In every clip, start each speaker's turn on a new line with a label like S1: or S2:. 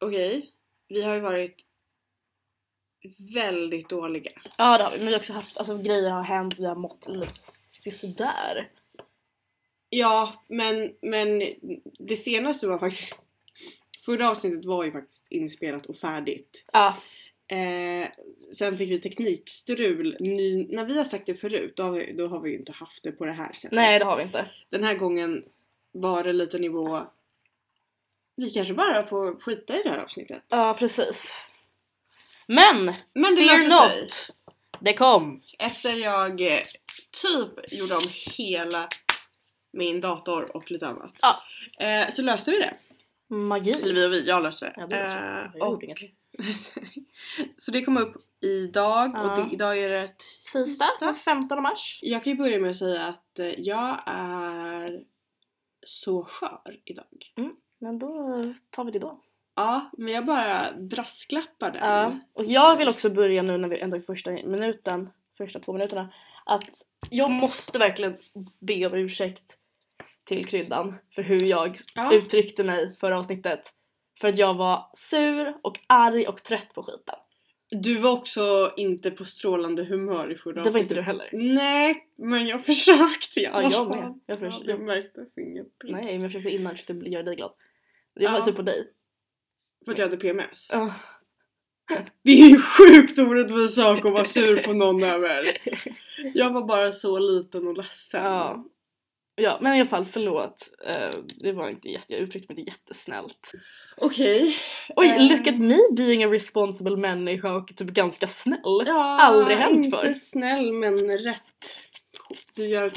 S1: okej, vi har ju varit väldigt dåliga.
S2: Ja det har vi, men vi har också haft, alltså grejer har hänt, vi har mått lite sådär.
S1: Ja, men, men det senaste var faktiskt... Förra avsnittet var ju faktiskt inspelat och färdigt.
S2: Ja,
S1: Eh, sen fick vi teknikstrul. Ny, när vi har sagt det förut, då har, vi, då har vi ju inte haft det på det här sättet.
S2: nej det har vi inte.
S1: Den här gången var det lite nivå... Vi kanske bara får skita i det här avsnittet.
S2: Ja precis. Men!
S1: Men det
S2: fear
S1: löser sig.
S2: not! Det kom!
S1: Efter jag eh, typ gjorde om hela min dator och lite annat.
S2: Ja.
S1: Eh, så löste vi det. Eller
S2: Magi.
S1: vi och vi, jag löste det.
S2: Ja, det är så.
S1: Eh,
S2: Jag
S1: och,
S2: gjorde inget.
S1: så det kom upp idag
S2: Ja.
S1: och det, idag är det ett...
S2: Tisdag den 15 mars.
S1: Jag kan ju börja med att säga att eh, jag är så skör idag.
S2: Men då tar vi det då.
S1: Ja, men jag bara brasklappar den.
S2: Ja, och jag vill också börja nu när vi ändå är första minuten, första två minuterna, att jag måste verkligen be om ursäkt till kryddan för hur jag
S1: Ja.
S2: uttryckte mig förra avsnittet. För att jag var sur och arg och trött på skiten.
S1: Du var också inte på strålande humör i förra
S2: Det var inte du heller.
S1: Nej, men jag försökte i
S2: Ja,
S1: alla
S2: jag
S1: fall.
S2: med. Jag förs-
S1: Ja, det märktes ingenting.
S2: Nej, men jag försökte innan, jag försökte göra dig glad. Jag var
S1: Ja.
S2: sur på dig.
S1: För att jag hade PMS.
S2: Ja.
S1: Det är en sjukt orättvis sak att vara sur på någon över. Jag var bara så liten och ledsen.
S2: Ja. ja, men i alla fall förlåt. Eh, Det var inte jätte, jag uttryckte mig inte jättesnällt.
S1: Okej.
S2: Oj,
S1: Eh.
S2: look at me being a responsible människa och typ ganska snäll.
S1: Ja,
S2: Aldrig hänt förr.
S1: Inte snäll men rätt. Du gör...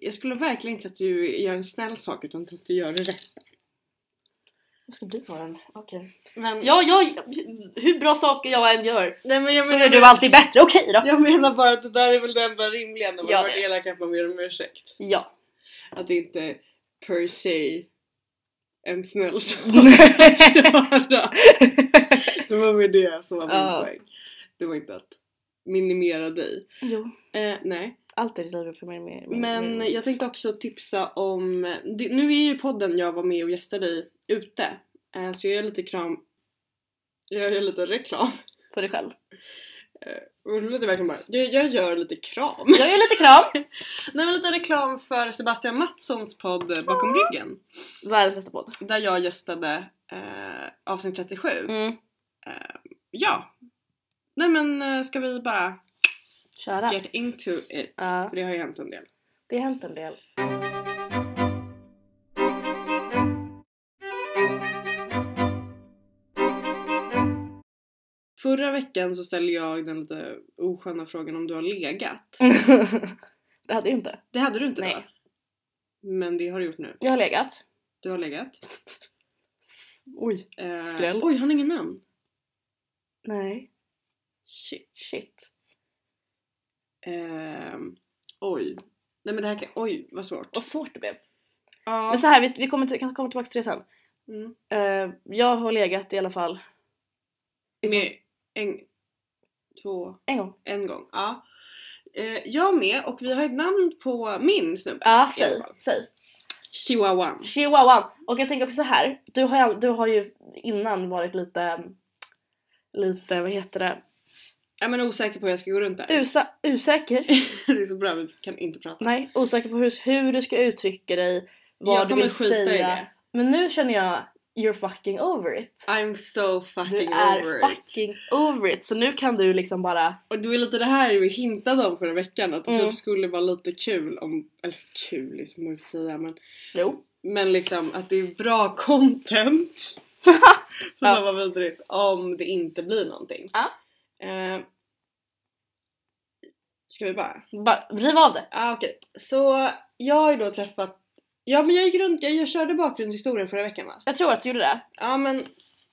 S1: Jag skulle verkligen inte säga att du gör en snäll sak utan att du gör det rätt.
S2: Jag ska bli på den. Okej.
S1: Men...
S2: Ja, jag, hur bra saker jag än gör
S1: Nej, men jag
S2: så
S1: menar,
S2: är du alltid bättre. Okej då!
S1: Jag menar bara att det där är väl det enda rimliga när man
S2: Ja,
S1: har varit
S2: det.
S1: elak att man ber om ursäkt.
S2: Ja.
S1: Att det inte per se en snäll sak
S2: Nej.
S1: att göra. Det var väl det som var min
S2: Ja.
S1: poäng. Det var inte att minimera dig.
S2: jo.
S1: Eh, nej,
S2: Allt är ditt liv för mig. Med, med,
S1: men
S2: med.
S1: jag tänkte också tipsa om... det- Nu är ju podden jag var med och gästade i ute. Eh, så jag gör lite kram... Jag gör lite reklam.
S2: För dig själv.
S1: Och det låter verkligen bara... Jag, jag gör lite kram.
S2: Jag gör lite kram.
S1: Nej men lite reklam för Sebastian Mattssons podd eh, Bakom ryggen.
S2: Världens bästa podd.
S1: Där jag gästade eh, avsnitt 37.
S2: Mm.
S1: Ja. Nej men eh, ska vi bara
S2: Köra.
S1: get into it?
S2: Ja.
S1: För det har ju hänt en del.
S2: Det har hänt en del.
S1: Förra veckan så ställde jag den lite osköna frågan om du har legat.
S2: det hade jag inte.
S1: Det hade du inte
S2: Mm. Nej.
S1: då? Men det har du gjort nu.
S2: Jag har legat.
S1: Du har legat.
S2: S- Oj.
S1: Eh,
S2: Skräll.
S1: Oj, han har ingen namn.
S2: Nej.
S1: Shit.
S2: Shit.
S1: Ehm, oj. Nej men det här kan... Oj, vad svårt.
S2: Vad svårt det blev.
S1: Ja.
S2: Men så här, vi, vi kommer till, kan komma tillbaka till det sen.
S1: Mm.
S2: Eh, jag har legat i alla fall Mm,
S1: Med en... Två...
S2: en gång.
S1: En gång. Ja. Eh, jag med och vi har ett namn på min snubbe.
S2: Ja,
S1: i alla
S2: Ah, säg.
S1: fall.
S2: Säg.
S1: Chihuahua.
S2: Chihuahuan! Och jag tänker också så här. Du har, ju- du har ju innan varit lite, lite vad heter det,
S1: Jag men osäker på hur jag ska gå runt där.
S2: Usa, osäker?
S1: det är så bra, vi kan inte prata.
S2: Nej, osäker på hur, hur du ska uttrycka dig, vad
S1: jag
S2: du
S1: kommer
S2: vill
S1: skita i
S2: säga.
S1: det.
S2: Men nu känner jag you're fucking over it.
S1: I'm so
S2: Du
S1: fucking
S2: är
S1: over it.
S2: fucking over it. Så nu kan du liksom bara,
S1: Och det var lite det här vi hintade om förra veckan att det
S2: Mm.
S1: typ skulle vara lite kul om, eller kul liksom, är så mörkt att säga men,
S2: jo.
S1: men liksom att det är bra content.
S2: Ja.
S1: ja. var vidrigt om det inte blir någonting.
S2: Ja.
S1: Eh, ska vi bara?
S2: Bara riv av det.
S1: Ja ah, okej, så jag har ju då träffat Ja men jag gick runt, jag, jag körde bakgrundshistorien förra veckan va?
S2: Jag tror att du gjorde det.
S1: Ja men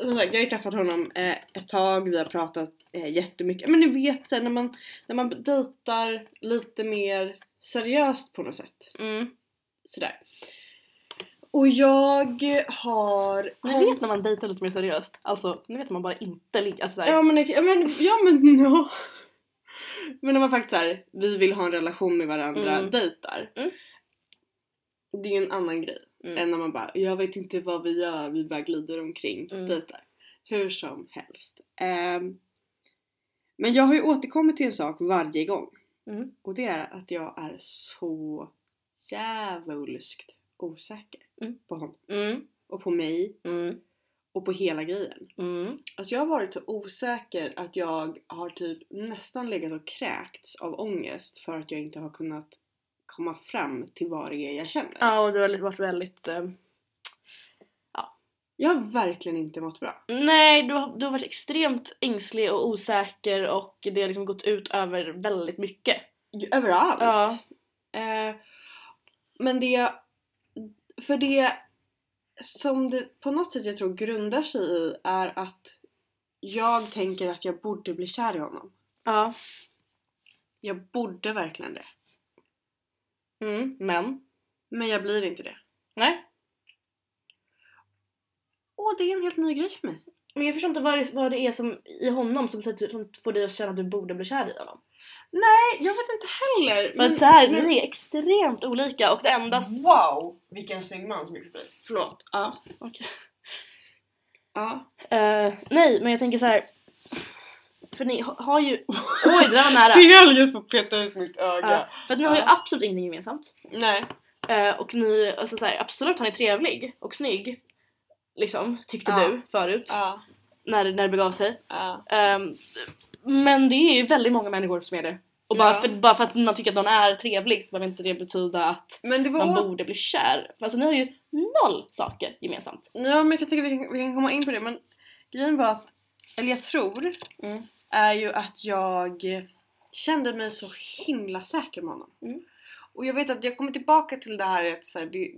S1: som sagt, jag har ju träffat honom eh, ett tag, vi har pratat eh, jättemycket. Men ni vet så här, när man, när man dejtar lite mer seriöst på något sätt.
S2: Mm.
S1: Sådär. Och jag har...
S2: Ni vet när man dejtar lite mer seriöst, alltså ni vet när man bara inte ligger, alltså såhär,
S1: Ja men, ja men, ja men no. Men när man faktiskt såhär, vi vill ha en relation med varandra,
S2: Mm.
S1: dejtar.
S2: Mm.
S1: Det är ju en annan grej
S2: Mm.
S1: än när man bara, jag vet inte vad vi gör, vi bara glider omkring,
S2: Mm.
S1: dejtar. Hur som helst. Ehm, men jag har ju återkommit till en sak varje gång.
S2: Mm.
S1: Och det är att jag är så djävulskt osäker
S2: Mm.
S1: på honom.
S2: Mm.
S1: Och på mig.
S2: Mm.
S1: Och på hela grejen.
S2: Mm.
S1: Alltså jag har varit så osäker att jag har typ nästan legat och kräkts av ångest för att jag inte har kunnat komma fram till vad det är jag känner.
S2: Ja, och du har varit väldigt... eh,
S1: Jag har verkligen inte mått bra.
S2: Nej, du har, du har varit extremt ängslig och osäker och det har liksom gått ut över väldigt mycket.
S1: Ju- Överallt.
S2: Ja.
S1: Eh, men det... För det som det på något sätt jag tror grundar sig i är att jag tänker att jag borde bli kär i honom.
S2: Ja.
S1: Jag borde verkligen det.
S2: Mm. Men?
S1: Men jag blir inte det.
S2: Nej.
S1: Och det är en helt ny grej för mig.
S2: Men jag förstår inte vad det, vad det är som, i honom som, sätter- som får dig att känna att du borde bli kär i honom.
S1: Nej, jag vet inte heller.
S2: För att så här, ni är extremt olika och det enda... s-
S1: Wow! Vilken snygg man som gick förbi. Förlåt. Ja.
S2: Okej.
S1: Ja.
S2: Eh, nej, men jag tänker så här. För ni ha- har ju... Oj, det där var nära!
S1: Det höll just på att peta ut mitt
S2: Ja,
S1: öga.
S2: för att ni har ju
S1: Ja.
S2: absolut ingenting gemensamt.
S1: Nej.
S2: Eh, och ni, alltså så här, absolut han är trevlig och snygg. Liksom, tyckte
S1: Ja.
S2: du förut.
S1: Ja.
S2: När, när det begav sig.
S1: Ja.
S2: Ehm, men det är ju väldigt många människor som är det. Och bara,
S1: Ja.
S2: för, bara för att man tycker att någon är trevlig så behöver inte det betyda att
S1: Men det var...
S2: man borde bli kär. Alltså ni har ju noll saker gemensamt.
S1: Ja men jag kan tänka att vi kan, vi kan komma in på det men grejen var att, eller jag tror,
S2: Mm.
S1: är ju att jag kände mig så himla säker med honom.
S2: Mm.
S1: Och jag vet att jag kommer tillbaka till det här att, så här, det,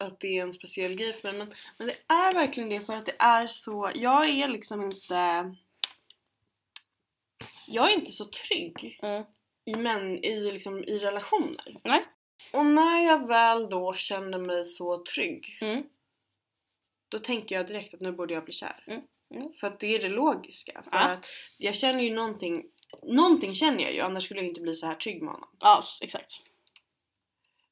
S1: att det är en speciell grej för mig men, men det är verkligen det för att det är så, jag är liksom inte jag är inte så trygg
S2: Mm.
S1: i, män, i, liksom, i relationer.
S2: Nej.
S1: Och när jag väl då känner mig så trygg
S2: Mm.
S1: då tänker jag direkt att nu borde jag bli kär.
S2: Mm, mm.
S1: För att det är det logiska. För
S2: Ja.
S1: att jag känner ju någonting, någonting känner jag ju annars skulle jag inte bli så här trygg med honom.
S2: Ja, s- exakt.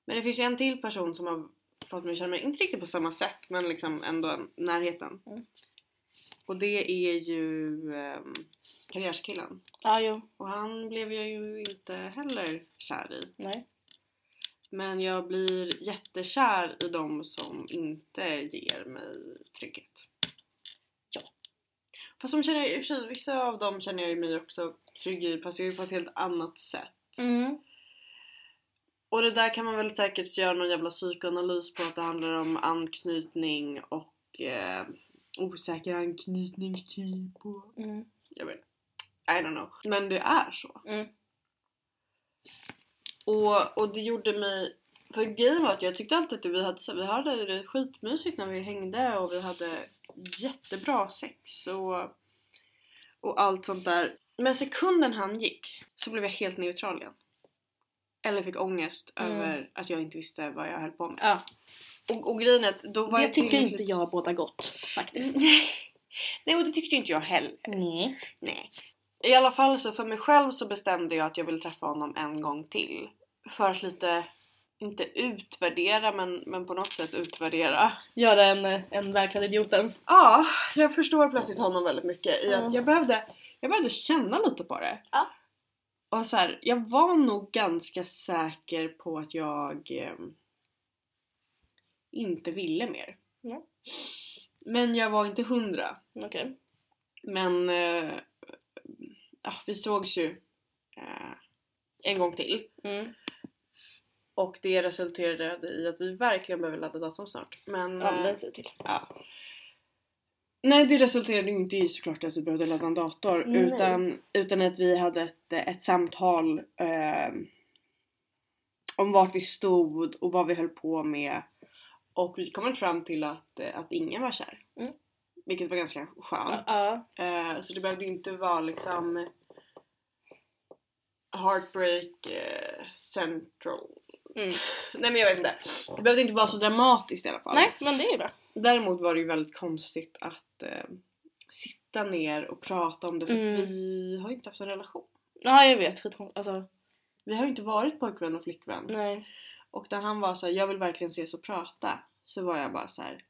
S1: Men det finns ju en till person som har fått mig att känna mig, inte riktigt på samma sätt men liksom ändå en- närheten.
S2: Mm.
S1: Och det är ju ehm, karriärskillen.
S2: Ja, jo.
S1: Och han blev jag ju inte heller kär i.
S2: Nej.
S1: Men jag blir jättekär i de som inte ger mig trygghet.
S2: Ja.
S1: Fast som känner jag, i och för sig, vissa av dem känner jag ju mig också trygg i fast det är ju på ett helt annat sätt.
S2: Mm.
S1: Och det där kan man väl säkert göra någon jävla psykoanalys på att det handlar om anknytning och eh, osäker anknytningstyp och
S2: Mm.
S1: jag vet I don't know. Men det är så.
S2: Mm.
S1: Och, och det gjorde mig... För grejen var att jag tyckte alltid att vi hade, så- vi hade det skitmysigt när vi hängde och vi hade jättebra sex och, och allt sånt där. Men sekunden han gick så blev jag helt neutral igen. Eller fick ångest
S2: Mm.
S1: över att jag inte visste vad jag höll på med.
S2: Ja.
S1: Och, och grejen är att då var
S2: Det
S1: jag
S2: tycker
S1: tillräckligt-
S2: inte jag båda gott faktiskt.
S1: Nej. Nej, och det tyckte inte jag heller.
S2: Nej.
S1: Nej. I alla fall så för mig själv så bestämde jag att jag ville träffa honom en gång till. För att lite, inte utvärdera men, men på något sätt utvärdera.
S2: Göra en, eh, en verkad idioten.
S1: Ja, jag förstår plötsligt honom väldigt mycket i att
S2: Mm.
S1: jag behövde, jag behövde känna lite på det.
S2: Ja.
S1: Och så här, jag var nog ganska säker på att jag ehm, inte ville mer.
S2: Ja.
S1: Men jag var inte hundra.
S2: Mm, Okej.
S1: Men eh, ja, vi sågs ju eh, en gång till
S2: Mm.
S1: och det resulterade i att vi verkligen behöver ladda datorn snart. Men,
S2: Ja,
S1: eh,
S2: men se till.
S1: ja. Nej det resulterade ju inte i såklart att vi behövde ladda en dator
S2: Nej.
S1: utan, utan att vi hade ett, eh, ett samtal eh, om vart vi stod och vad vi höll på med och vi kom fram till att, eh, att ingen var kär.
S2: Mm.
S1: Vilket var ganska skönt.
S2: Ja.
S1: Eh, så det behövde ju inte vara liksom Heartbreak eh, central.
S2: Mm.
S1: Nej men jag vet inte. Det behövde inte vara så dramatiskt i alla fall.
S2: Nej, men det är ju bra.
S1: Däremot var det ju väldigt konstigt att eh, sitta ner och prata om det för att
S2: Mm.
S1: vi har ju inte haft en relation.
S2: Ja, jag vet. Skitkon- Alltså,
S1: Vi har ju inte varit pojkvän och flickvän.
S2: nej.
S1: Och när han var så här, jag vill verkligen ses och prata. Så var jag bara så här.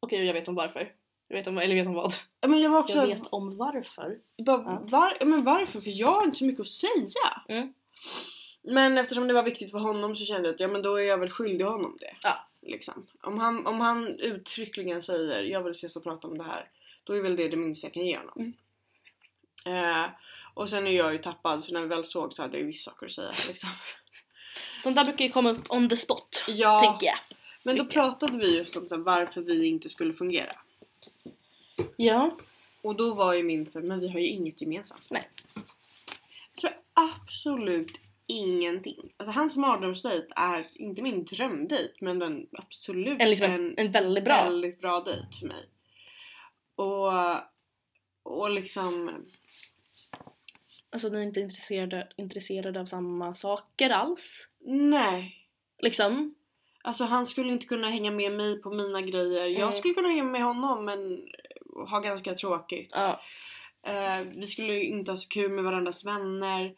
S2: Okej, jag vet om varför. Jag vet om, eller vet om vad? Alltså-
S1: Ja, Men jag var också...
S2: Jag vet om varför.
S1: Bara,
S2: Ja.
S1: var, ja, men varför? För jag har inte så mycket att säga.
S2: Mm.
S1: Men eftersom det var viktigt för honom så kände jag att ja, men då är jag väl skyldig honom det.
S2: Ja.
S1: Liksom. Om, han, om han uttryckligen säger jag vill ses och prata om det här. Då är väl det det minsta jag kan ge honom. Eh, och sen är jag ju tappad så när vi väl såg så hade jag ju vissa saker att säga. Liksom.
S2: Sånt där brukar ju komma upp on the spot.
S1: Ja,
S2: Tänker jag.
S1: men då pratade vi just om så här, varför vi inte skulle fungera.
S2: Ja.
S1: Och då var ju min så här, men vi har ju inget gemensamt.
S2: Nej.
S1: Jag tror absolut ingenting. Alltså hans mardrömsdejt är inte min drömdejt men den absolut
S2: En, liksom, en, en väldigt bra.
S1: väldigt bra dejt för mig. Och, och liksom,
S2: Alltså ni är inte intresserade, intresserade av samma saker alls.
S1: nej.
S2: Liksom.
S1: Alltså han skulle inte kunna hänga med mig på mina grejer.
S2: Mm.
S1: Jag skulle kunna hänga med honom men ha ganska tråkigt.
S2: Ja.
S1: Eh, vi skulle ju inte ha så kul med varandras vänner.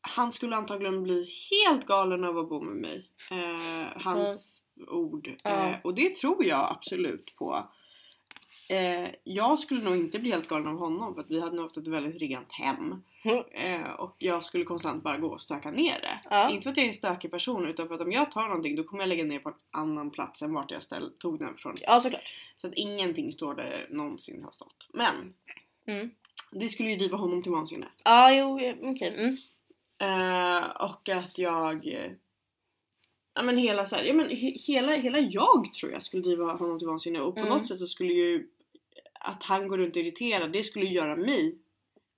S1: Han skulle antagligen bli helt galen av att bo med mig. Eh, hans ord.
S2: Ja.
S1: Eh, och det tror jag absolut på. Eh, jag skulle nog inte bli helt galen av honom för att vi hade nog haft ett väldigt rent hem.
S2: Mm.
S1: Eh, och jag skulle konstant bara gå och stöka ner det.
S2: Ja.
S1: Inte för att jag är en stökig person utan för att om jag tar någonting då kommer jag lägga ner på en annan plats än vart jag ställ, tog den från.
S2: Ja såklart.
S1: Så att ingenting står där det någonsin har stått. Men
S2: Mm.
S1: det skulle ju driva honom till vansinne.
S2: Ja jo ja, okej. Mm.
S1: Eh, och att jag... eh, Ja men hela så här, ja, men he, hela, hela jag tror jag skulle driva honom till vansinne och på
S2: Mm.
S1: något sätt så skulle ju att han går runt irriterad, det skulle ju göra mig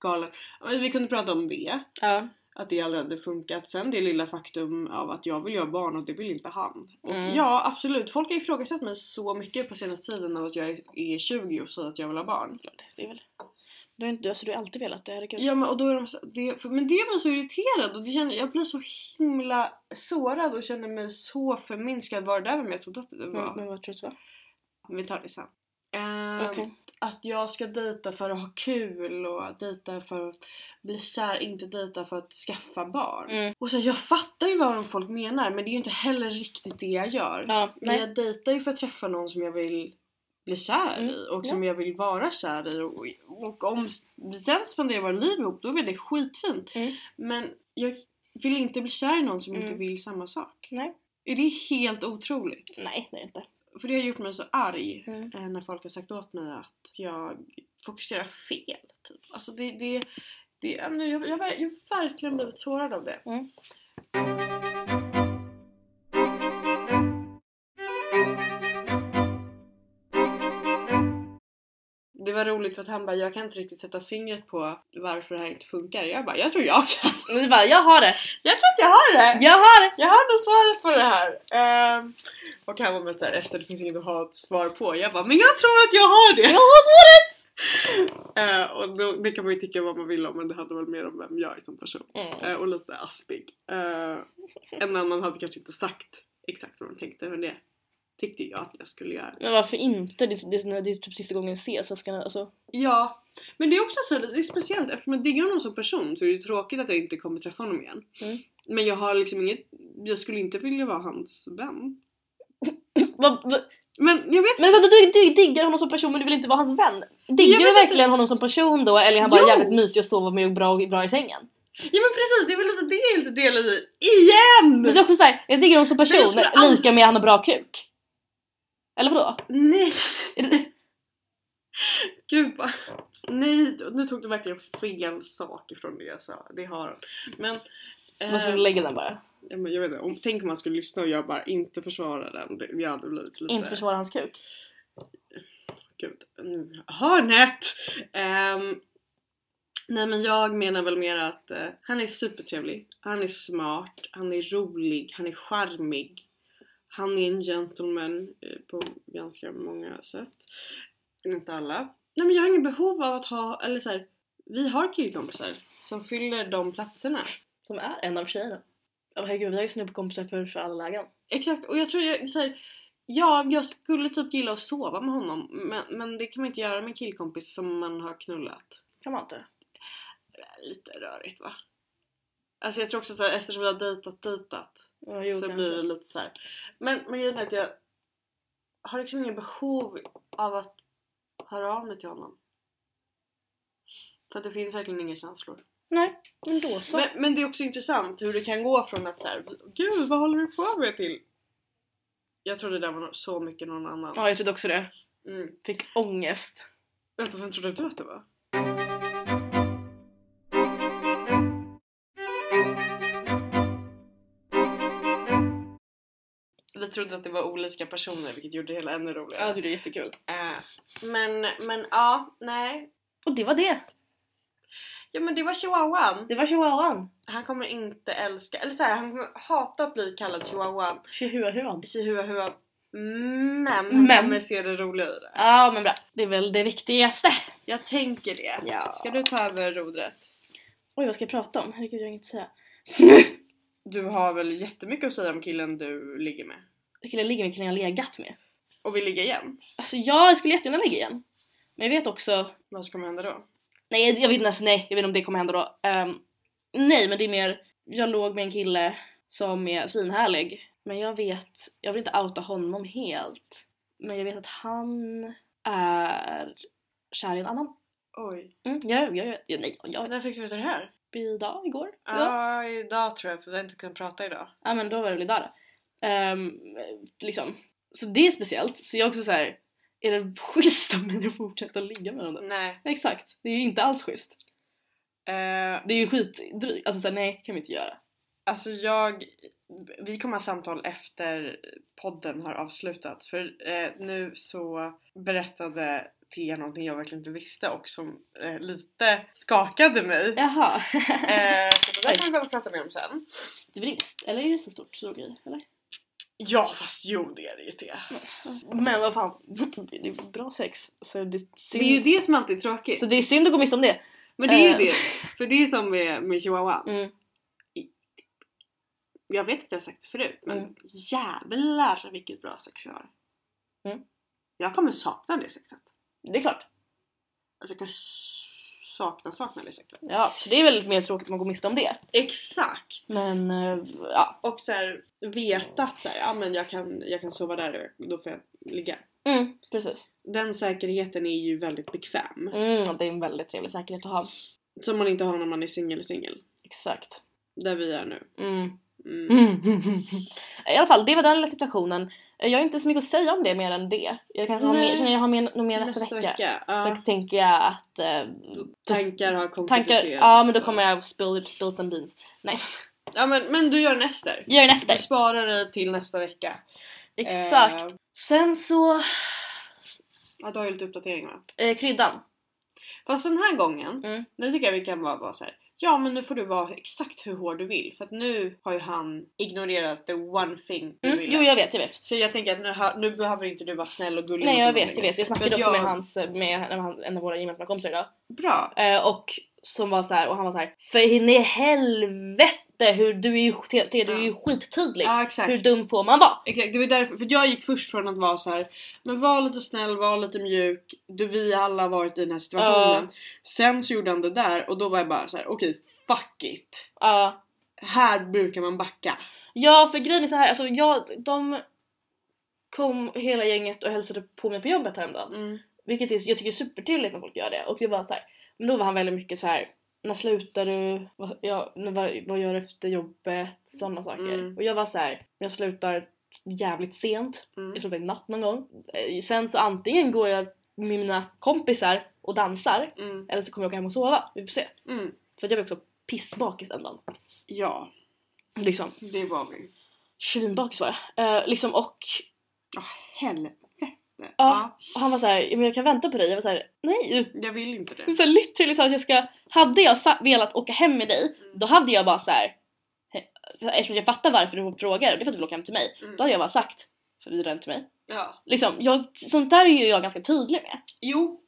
S1: galen. Ja, men Vi kunde prata om det,
S2: Ja.
S1: att det aldrig hade funkat. Sen det lilla faktum av att jag vill göra barn och det vill inte han. Och
S2: Mm.
S1: ja absolut, folk har ifrågasatt mig så mycket på senaste tiden av att jag är- är 20 och säger att jag vill ha barn.
S2: Det är väl... Du har inte, alltså, du har alltid velat det, herregud.
S1: Ja men och då är de så, det, för, men det gör mig så irriterad och det känner, jag blir så himla sårad och känner mig så förminskad. Var det där vem jag trodde att det var?
S2: Men, men vad tror du att det
S1: Vi tar det sen. Ehm,
S2: var? Okej.
S1: Att jag ska dejta för att ha kul och dejta för att bli kär, inte dejta för att skaffa barn.
S2: Mm.
S1: Och så här, jag fattar ju vad de folk menar men det är ju inte heller riktigt det jag gör.
S2: Ja,
S1: Men
S2: nej.
S1: jag dejtar ju för att träffa någon som jag vill bli kär
S2: Mm,
S1: i och som jag vill vara kär i och, och om vi sen spenderar våra liv ihop då är väl det skitfint.
S2: Mm.
S1: Men jag vill inte bli kär i någon som inte
S2: Mm.
S1: vill samma sak.
S2: Nej.
S1: Är det helt otroligt?
S2: Nej, det är inte.
S1: För det har gjort mig så arg
S2: Mm.
S1: eh, när folk har sagt åt mig att jag fokuserar fel. Typ. Alltså det, det, det, jag, menar, jag, jag, jag har verkligen blivit sårad av det.
S2: Mm.
S1: Det var roligt för att han bara, jag kan inte riktigt sätta fingret på varför det här inte funkar. Jag bara, jag tror jag kan.
S2: Men du bara, jag har det!
S1: Jag tror att jag har det!
S2: Jag har det!
S1: Jag hade svaret på det här! Ehm, och han var mest såhär Ester det finns inget att ha ett svar på. Jag bara men jag tror att jag har det! Jag har svaret! och då, det kan man ju tycka vad man vill om men det handlar väl mer om vem jag är som person.
S2: Mm.
S1: Eh, och lite aspig. Eh, en annan hade kanske inte sagt exakt vad de tänkte men det tyckte jag att jag skulle göra.
S2: Men varför inte? Det, är- det, är- det är typ sista gången jag ses. Jag ska, alltså,
S1: Ja, men det är också så, det är speciellt eftersom jag diggar honom som person så är det tråkigt att jag inte kommer träffa honom igen.
S2: Mm.
S1: Men jag har liksom inget, jag skulle inte vilja vara hans vän.
S2: vad, vad,
S1: Men jag vet
S2: men vänta, du, du diggar honom som person men du vill inte vara hans vän? Diggar
S1: Jag
S2: du
S1: vet
S2: verkligen honom som person då eller är han bara
S1: Jo!
S2: jävligt mysig och sover med och bra, och bra i sängen?
S1: Ja men precis, det är väl lite det jag inte delar i. IGEN!
S2: Men det är också såhär, jag diggar honom som
S1: jag
S2: person,
S1: skulle aldrig-
S2: lika med han har bra kuk. Eller vadå?
S1: Nej!
S2: Är det-
S1: Gud vad... Nej, nu tog du verkligen fel sak ifrån det jag sa. Det har han. Men... eh,
S2: Måste vi lägga den bara?
S1: ja, men jag vet inte, om, tänk om man skulle lyssna och jag bara inte försvarar den. Det- Jag hade blivit lite...
S2: Inte försvara hans kuk?
S1: Gud, nu... Hörnet! Um, nej men jag menar väl mer att eh, han är supertrevlig, han är smart, han är rolig, han är charmig. Han är en gentleman eh, på ganska många sätt. Inte alla. Nej men jag har inget behov av att ha, eller så här, vi har killkompisar som fyller de platserna.
S2: Som är en av tjejerna. Ja men herregud vi har ju snubbkompisar för, för alla lägen.
S1: Exakt, och jag tror jag så här, Ja, jag skulle typ gilla att sova med honom men, men det kan man inte göra med en killkompis som man har knullat.
S2: Kan man inte?
S1: lite rörigt va? Alltså jag tror också såhär eftersom vi har dejtat dejtat
S2: Ja, jo,
S1: så
S2: kanske.
S1: blir det lite så här. Men, men grejen är att jag har liksom inget behov av att Hör av mig till honom. För att det finns verkligen inga känslor.
S2: Nej, men då så.
S1: Men, men det är också intressant hur det kan gå från att såhär Gud vad håller du på med till? Jag trodde det där var no- så mycket någon annan.
S2: Ja, jag trodde också det.
S1: Mm.
S2: Fick ångest.
S1: Vänta, vem trodde du att det var? Vi trodde att det var olika personer vilket gjorde det hela ännu roligare.
S2: Jag tyckte det är jättekul.
S1: Eh, men, men ja, nej.
S2: Och det var det.
S1: Ja men det var chihuahuan.
S2: Det var chihuahuan.
S1: Han kommer inte älska, eller så här, han kommer hata att bli kallad chihuahuan.
S2: Chihuahuan.
S1: Chihuahua. Men han
S2: Men.
S1: kommer se det roliga i det.
S2: Ja, men bra. Det är väl det viktigaste.
S1: Jag tänker det.
S2: Ja.
S1: Ska du ta över rodret?
S2: Oj, vad ska jag prata om? Herregud, jag har inget att säga.
S1: Du har väl jättemycket att säga om killen du ligger med?
S2: Vilken jag ligger med, vilken jag har legat med.
S1: Och vill ligga igen?
S2: Alltså ja, jag skulle jättegärna ligga igen. Men jag vet också...
S1: Vad ska hända då?
S2: Nej, jag vet inte ens, nej, jag vet inte om det kommer hända då. Ehm, nej, men det är mer... Jag låg med en kille som är svinhärlig. Men jag vet... Jag vill inte outa honom helt. Men jag vet att han är kär i en annan.
S1: Oj.
S2: Mm, jag, jag, jag, jag, nej, jag,
S1: När fick du veta det här?
S2: idag, igår.
S1: Ja,
S2: idag.
S1: idag tror jag för vi har inte kunnat prata idag.
S2: ja men då var det väl idag då. Ehm, liksom. Så det är speciellt, så jag är också så här. är det schysst av mig att fortsätta ligga med honom?
S1: Nej.
S2: Exakt, det är ju inte alls schysst.
S1: Eh,
S2: Det är ju skitdrygt, alltså såhär nej kan vi inte göra.
S1: Alltså jag, vi kommer ha samtal efter podden har avslutats för eh, nu så berättade Thea någonting jag verkligen inte visste och som eh, lite skakade mig.
S2: Jaha.
S1: Eh, så det där kan vi behöva prata mer om sen.
S2: det är väl inget, eller är det så stort så grej, eller?
S1: Ja fast jo det är det ju Thea.
S2: Men vad fan, det är bra sex. Så det, är
S1: Det
S2: synd.
S1: är ju det som alltid är tråkigt.
S2: så det är synd att gå miste om det.
S1: Men det är ju
S2: Eh.
S1: det. För det är ju som med, med chihuahua.
S2: Mm.
S1: Jag vet att jag har sagt det förut men
S2: Mm.
S1: jävlar vilket bra sex vi har.
S2: Mm.
S1: Jag kommer sakna det sexet.
S2: Det är klart.
S1: Alltså jag kommer s- sakna, sakna det sexet.
S2: Ja, så det är väl mer tråkigt att man går miste om det.
S1: Exakt!
S2: Men eh, ja.
S1: Och så här, veta att så här, ja, men jag, kan, jag kan sova där och då får jag ligga.
S2: Mm, precis.
S1: Den säkerheten är ju väldigt bekväm.
S2: Mm, det är en väldigt trevlig säkerhet att ha.
S1: Som man inte har när man är singel singel.
S2: Exakt.
S1: Där vi är nu.
S2: Mm.
S1: Mm.
S2: Mm. I alla fall, det var den lilla situationen. Eh, Jag har inte så mycket att säga om det mer än det. Jag kanske har
S1: Nej.
S2: mer, känner jag har mer, nog mer nästa, vecka. Så
S1: ja,
S2: tänker jag att... Eh, då-
S1: tankar har konkretiserats.
S2: tankar, ja men då
S1: så.
S2: kommer jag spill, spill some beans. Nej,
S1: ja, men, men du gör nästa.
S2: jag gör det nästa.
S1: Du sparar det till nästa vecka.
S2: Eh, Exakt.
S1: Eh,
S2: Sen så,
S1: ja, du har ju lite uppdateringar va?
S2: eh, kryddan.
S1: Fast den här gången,
S2: Mm.
S1: nu tycker jag vi kan vara, vara så här. Ja men nu får du vara exakt hur hård du vill för att nu har ju han ignorerat the one thing du
S2: Mm.
S1: ville.
S2: Jo jag vet, jag vet.
S1: Så jag tänker att nu, har, nu behöver inte du vara snäll och gullig
S2: Nej
S1: mot
S2: jag
S1: honom
S2: vet, jag
S1: längre.
S2: vet. Jag
S1: För
S2: snackade
S1: att
S2: också med,
S1: jag-
S2: hans, med en av hans- en av våra gemensamma kompisar idag.
S1: Bra!
S2: Eh, och som var så här, och han var så här. För in i helvete hur du är ju, te, te, du är ju skittydlig.
S1: Ja exakt.
S2: Hur dum får man vara?
S1: Exakt, det var därför, för jag gick först från att vara så här. men var lite snäll, var lite mjuk, du, vi alla har varit i den här situationen. Sen så gjorde han det där och då var jag bara så här: okej fuck it.
S2: Ja.
S1: Här brukar man backa.
S2: Ja för grejen är så här, alltså jag, de kom hela gänget och hälsade på mig på jobbet häromdagen.
S1: Mm.
S2: Vilket är, jag tycker är supertrevligt när folk gör det. Och det var så här, men då var han väldigt mycket så här. När slutar du? Vad, ja, när, vad, vad gör du efter jobbet? Sådana saker.
S1: Mm.
S2: Och jag var så här, jag slutar jävligt sent.
S1: Mm.
S2: Jag tror det är natt någon gång. Eh, Sen så antingen går jag med mina kompisar och dansar.
S1: Mm.
S2: Eller så kommer jag åka hem och sova. Vi får se.
S1: Mm.
S2: För att jag var också pissbakis den dagen.
S1: Ja,
S2: Liksom.
S1: det var vi.
S2: Svinbakis var jag. Eh, liksom och
S1: Åh helvete. Ja.
S2: Och han var så här, "Ja, men jag kan vänta på dig. Jag var så här, nej.
S1: Jag vill inte det.
S2: Det är så här literally så att jag ska, hade jag sa- velat åka hem med dig,
S1: Mm.
S2: då hade jag bara så här, he- så här, eftersom jag fattar varför du frågar, och det är för att du vill åka hem till mig,
S1: Mm.
S2: då hade jag bara sagt, för vi hem till mig.
S1: Ja.
S2: Liksom, jag, sånt där är ju jag ganska tydlig med.
S1: Jo,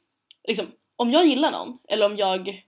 S2: Liksom, om jag gillar någon, eller om jag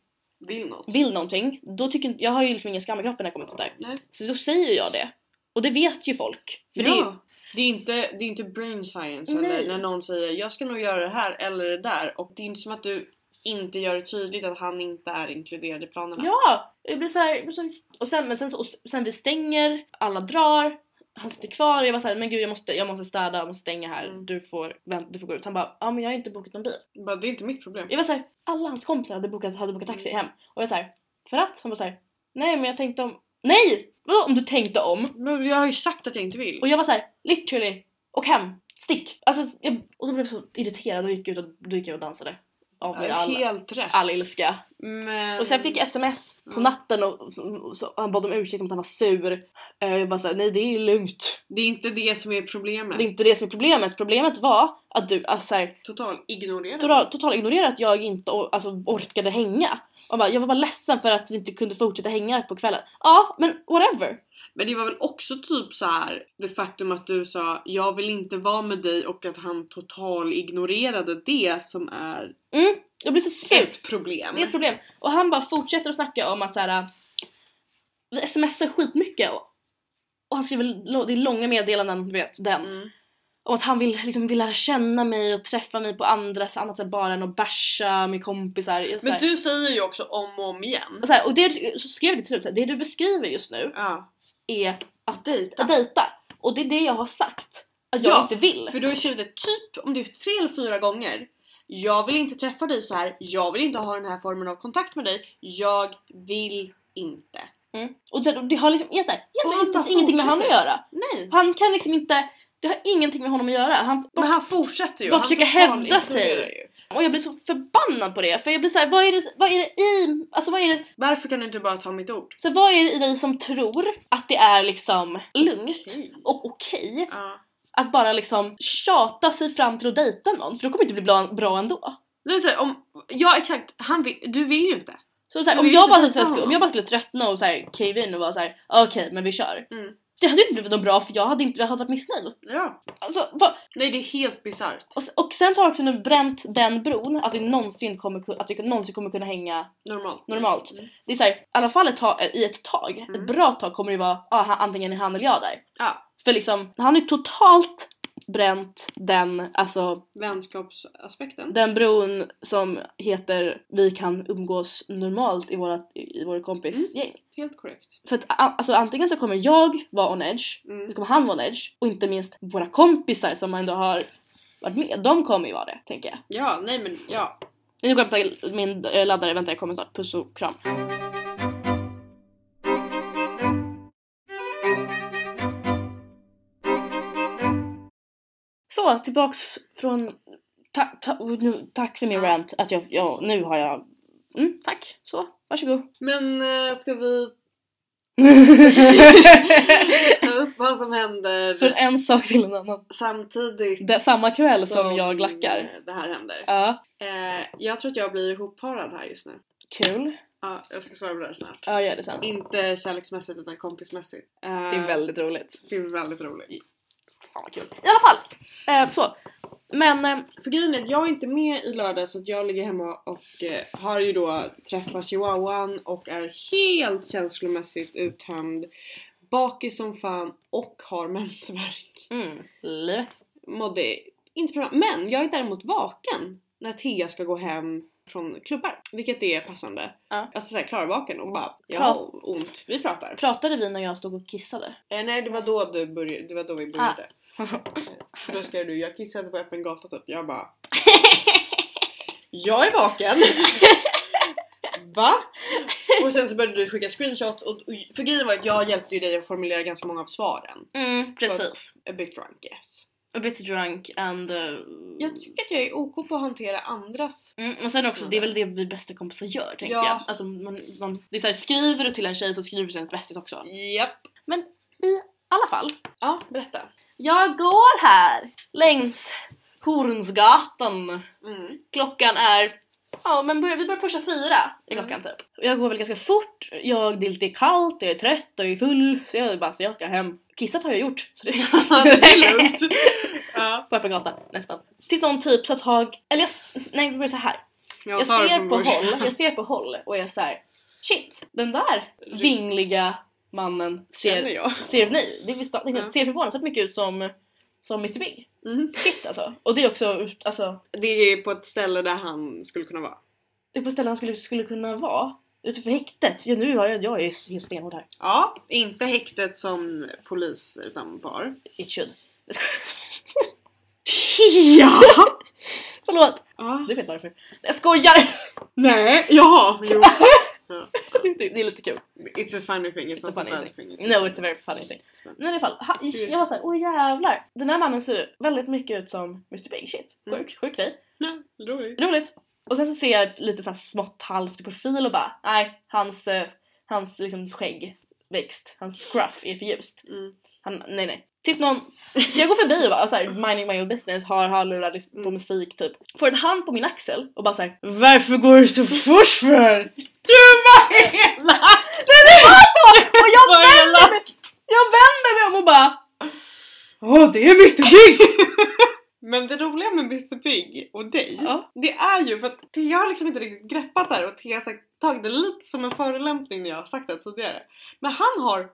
S1: vill något.
S2: vill någonting, då tycker inte- jag har ju liksom ingen skam i kroppen när jag kommer till sånt där.
S1: Nej.
S2: Så då säger jag det. Och det vet ju folk. För det är ju
S1: ja. det, är inte, det är inte brain science eller
S2: Nej.
S1: när någon säger jag ska nog göra det här eller det där och det är inte som att du inte gör det tydligt att han inte är inkluderad i planerna.
S2: Ja! Jag blir så här, jag blir så här, och sen, men sen, så- och sen vi stänger, alla drar. han sitter kvar och jag var såhär, men gud jag måste, jag måste städa, jag måste stänga här,
S1: Mm.
S2: du, får, vänta, du får gå ut. Han bara, ja ah, men jag har inte bokat någon bil.
S1: Bara, det är inte mitt problem.
S2: Jag var såhär, alla hans kompisar hade bokat, hade bokat taxi hem. Och jag var såhär, för att? Han var såhär, nej men jag tänkte om, nej! Vadå om du tänkte om?
S1: Men jag har ju sagt att jag inte vill.
S2: Och jag var så här, literally, och hem, stick! Alltså, jag, och då blev jag så irriterad och gick ut och, då gick jag och dansade. Av
S1: Ja,
S2: med all,
S1: Helt rätt.
S2: all ilska.
S1: Men...
S2: Och sen fick jag sms på
S1: Mm.
S2: natten och, och så, och han bad om ursäkt om att han var sur. Eh, Jag bara såhär, nej det är lugnt.
S1: Det är inte det som är problemet.
S2: Det är inte det som är problemet. Problemet var att du alltså, så här,
S1: Total ignorera.
S2: total, total ignorerade att jag inte or- alltså, orkade hänga. Och bara, jag var bara ledsen för att vi inte kunde fortsätta hänga på kvällen. Ja, men whatever.
S1: Men det var väl också typ så här det faktum att du sa jag vill inte vara med dig och att han total ignorerade det som är
S2: Jag blev så sur.
S1: ett problem.
S2: Det är ett problem. Och han bara fortsätter att snacka om att så här. eh, vi smsar skitmycket och, och han skriver lo- det är långa meddelanden, du vet den.
S1: Mm.
S2: Och att han vill, liksom, vill lära känna mig och träffa mig på andra så annat sätt bara än att basha med kompisar. Jag, så
S1: Men
S2: här,
S1: du säger ju också om och om igen.
S2: och, så här, och det, så skrev jag till slut, så här, det du beskriver just nu
S1: Ja.
S2: är att
S1: Dejta.
S2: att dejta. Och det är det jag har sagt. Att jag
S1: Ja,
S2: inte vill.
S1: För du har tjutit typ om det är tre eller fyra gånger. Jag vill inte träffa dig så här. jag vill inte ha den här formen av kontakt med dig. Jag vill inte.
S2: Mm. Och det, och det har liksom egentligen
S1: Och
S2: egentligen
S1: han
S2: inte
S1: bara
S2: ingenting med han att
S1: fortsätter.
S2: göra.
S1: Nej.
S2: Han kan liksom inte, det har ingenting med honom att göra. Han,
S1: Men han fortsätter ju.
S2: Bara
S1: han
S2: försöker
S1: total
S2: hävda sig.
S1: ignorerar ju.
S2: Och jag blir så förbannad på det för jag blir så här, vad är det, vad är det i, alltså vad är det,
S1: Varför kan du inte bara ta mitt ord?
S2: så här, vad är det i dig som tror att det är liksom lugnt
S1: Okej.
S2: och okej
S1: Ja.
S2: att bara liksom tjata sig fram till att dejta någon för då kommer det inte bli bra, bra ändå.
S1: Nu säger om, ja exakt, han vill, du vill ju inte.
S2: Så, så här,
S1: Men
S2: om,
S1: vi
S2: jag
S1: ska
S2: bara,
S1: dejta
S2: så här, skulle, om
S1: honom.
S2: jag bara skulle tröttna och så här, cave in och vara så här: okej men vi kör.
S1: Mm.
S2: Det hade ju inte blivit något bra för jag hade, inte, jag hade varit missnöjd.
S1: Ja.
S2: Alltså, vad-
S1: Nej det är helt bisarrt.
S2: och, s- och sen så har jag också nu bränt den bron att vi någonsin kommer, ku- att vi någonsin kommer kunna hänga
S1: Normalt.
S2: Normalt.
S1: Mm.
S2: det är såhär, i alla fall ett tag, i ett tag, ett
S1: Mm.
S2: bra tag kommer det vara ah, han- antingen är han eller jag där.
S1: Ja.
S2: För liksom, han har ju totalt bränt den, alltså
S1: Vänskapsaspekten.
S2: den bron som heter vi kan umgås normalt i våra, i våra kompisgäng.
S1: Helt korrekt.
S2: För att a- alltså, antingen så kommer jag vara on edge,
S1: Mm.
S2: så kommer han vara on edge och inte minst våra kompisar som ändå har varit med, de kommer ju vara det tänker jag.
S1: Ja, nej men ja.
S2: Nu går jag och hämtar min eh, laddare, vänta jag kommer snart. Puss och kram. Så, tillbaks från... Ta, ta, och nu, tack för min
S1: Ja.
S2: rant, att jag, jag, nu har jag... Mm, tack, så, varsågod.
S1: Men eh, ska vi ta upp vad som
S2: från
S1: händer
S2: en sak till en annan.
S1: samtidigt eh,
S2: Det, samma kväll som, jag glackar.
S1: det här händer.
S2: Ja,
S1: Eh, jag tror att jag blir ihopparad här just nu.
S2: kul.
S1: Ja, jag ska svara på det här snart.
S2: Ja, gör det sen.
S1: Inte kärleksmässigt utan kompismässigt. Eh,
S2: Det är väldigt roligt.
S1: det är väldigt roligt.
S2: Fan vad kul. I alla fall! Eh, så. Men... Eh,
S1: För grejen är att jag är inte med i lördag så att jag ligger hemma och eh, har ju då träffat chihuahuan och är helt känslomässigt uttömd, bakis som fan och har mensvärk.
S2: mm, livet.
S1: Mådde inte bra. Men jag är däremot vaken när Thea ska gå hem från klubbar. Vilket är passande.
S2: Ja.
S1: Alltså såhär klarvaken och bara jag
S2: Prat-
S1: har ont, vi pratar.
S2: Pratade vi när jag stod och kissade?
S1: Eh, nej det var då du började, det var då vi började. Eh, Då skrev du jag kissade på öppen gata typ. Jag bara Jag är vaken! Va? Och sen så började du skicka screenshots och, och för grejen var att jag hjälpte ju dig att formulera ganska många av svaren.
S2: Mm, precis.
S1: A bit drunk yes.
S2: A bit drunk and... Uh,
S1: Jag tycker att jag är OK på att hantera andras.
S2: mm, men sen också, det är väl det vi bästa kompisar gör tänker
S1: Ja.
S2: jag. Alltså, man, man, det är så här, skriver du till en tjej så skriver du till hennes bästis också. I
S1: Japp.
S2: alla fall.
S1: Ja, berätta.
S2: Jag går här längs Hornsgatan.
S1: Mm.
S2: Klockan är... Ja men börjar, vi börjar pusha fyra i klockan typ. Och Jag går väl ganska fort, jag, det är lite kallt, jag är trött, jag är full. Så jag bara, så jag ska hem. Kissat har jag gjort. Så det
S1: det är lugnt. Ja.
S2: på öppen gata nästan. Tills någon typ så att jag, eller jag, s- nej vi börjar så här. Jag,
S1: tar det
S2: ser
S1: från
S2: på
S1: början.
S2: håll, jag ser på håll och jag är så här. shit den där vingliga mannen
S1: Känner
S2: ser,
S1: jag.
S2: ser ni, det visst,
S1: Ja.
S2: ser förvånansvärt mycket ut som, som Mr Big.
S1: Mm.
S2: Shit alltså. Och det är också, ut- alltså,
S1: Det är på ett ställe där han skulle kunna vara.
S2: det är på ställen han skulle, skulle kunna vara utanför häktet. Ja, nu har jag, jag är s- stenhård här.
S1: Ja, inte häktet som polis utan bar.
S2: It should.
S1: Ja!
S2: Förlåt!
S1: ja.
S2: Du vet varför. Jag skojar!
S1: Nej, jaha, jo.
S2: det, det är lite kul.
S1: It's a funny thing, it's,
S2: It's a
S1: not a
S2: funny
S1: bad
S2: thing.
S1: thing.
S2: No, it's a very funny thing. Men i alla fall, ha, ish, jag var såhär, åh jävlar. Den här mannen ser väldigt mycket ut som Mr Big Shit. Sjuk,
S1: Mm.
S2: sjuk grej.
S1: No, roligt.
S2: Roligt! Och sen så ser jag lite såhär smått halvt i profil och bara, nej, hans, eh, hans liksom skäggväxt, hans scruff är för ljust.
S1: Mm.
S2: Han, nej nej. Tills någon, så jag går förbi och bara såhär, minding my own business, har hörlurar liksom, på
S1: Mm.
S2: musik typ. Får en hand på min axel och bara såhär, varför går du så fort för? Gud vad Nej det var så! Och jag
S1: Vad
S2: vänder mig, jag vänder mig om och bara Åh det är Mr Big!
S1: Men det roliga med Mr Pig och dig,
S2: Ja.
S1: det är ju för att jag har liksom inte riktigt greppat det här och Thea har sagt- tagit det lite som en förolämpning när jag har sagt det tidigare. Men han har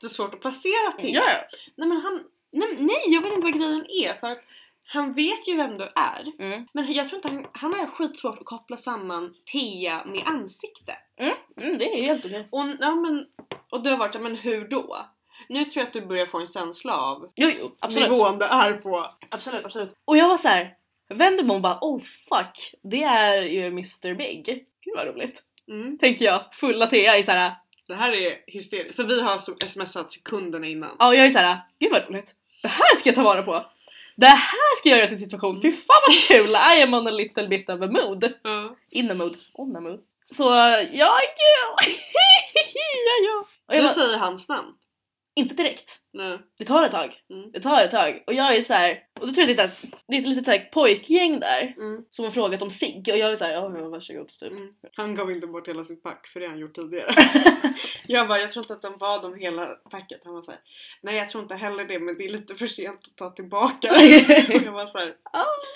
S1: jättesvårt att placera ting.
S2: ja, ja.
S1: Nej men han, nej, nej jag vet inte vad grejen är för att han vet ju vem du är.
S2: Mm.
S1: Men jag tror inte han, han har skitsvårt att koppla samman Thea med ansikte.
S2: Mm, det är helt okej.
S1: Och, ja, men, och du har varit så här, men hur då? Nu tror jag att du börjar få en känsla av
S2: Jo, jo absolut.
S1: nivån du är på.
S2: Absolut, absolut. Och jag var så här, vänder mig om och bara oh fuck, det är ju Mr Big. Gud vad roligt.
S1: Mm.
S2: Tänker jag, fulla Thea i såhär
S1: Det här är hysteriskt, för vi har så- smsat sekunderna innan.
S2: Ja, och jag är såhär, gud vad roligt. Det här ska jag ta vara på. Det här ska jag göra till situation. Fy fan vad kul! I am on a little bit of a mood.
S1: Ja.
S2: In a mood. On a mood. Så jag... ja, ja. Och jag
S1: Du
S2: bara,
S1: säger hans namn.
S2: inte direkt.
S1: Nej.
S2: Det tar ett tag.
S1: Mm.
S2: Det tar ett tag. Och jag är så här. och då tror jag att det är ett- det är ett litet så här pojkgäng där
S1: Mm.
S2: som har frågat om sig och jag är såhär, ja ja, varsågod typ.
S1: Mm. Han gav inte bort hela sitt pack för det har han gjort tidigare. jag bara, jag tror inte att han bad om hela packet. Han var såhär, nej jag tror inte heller det men det är lite för sent att ta tillbaka. Och jag var såhär,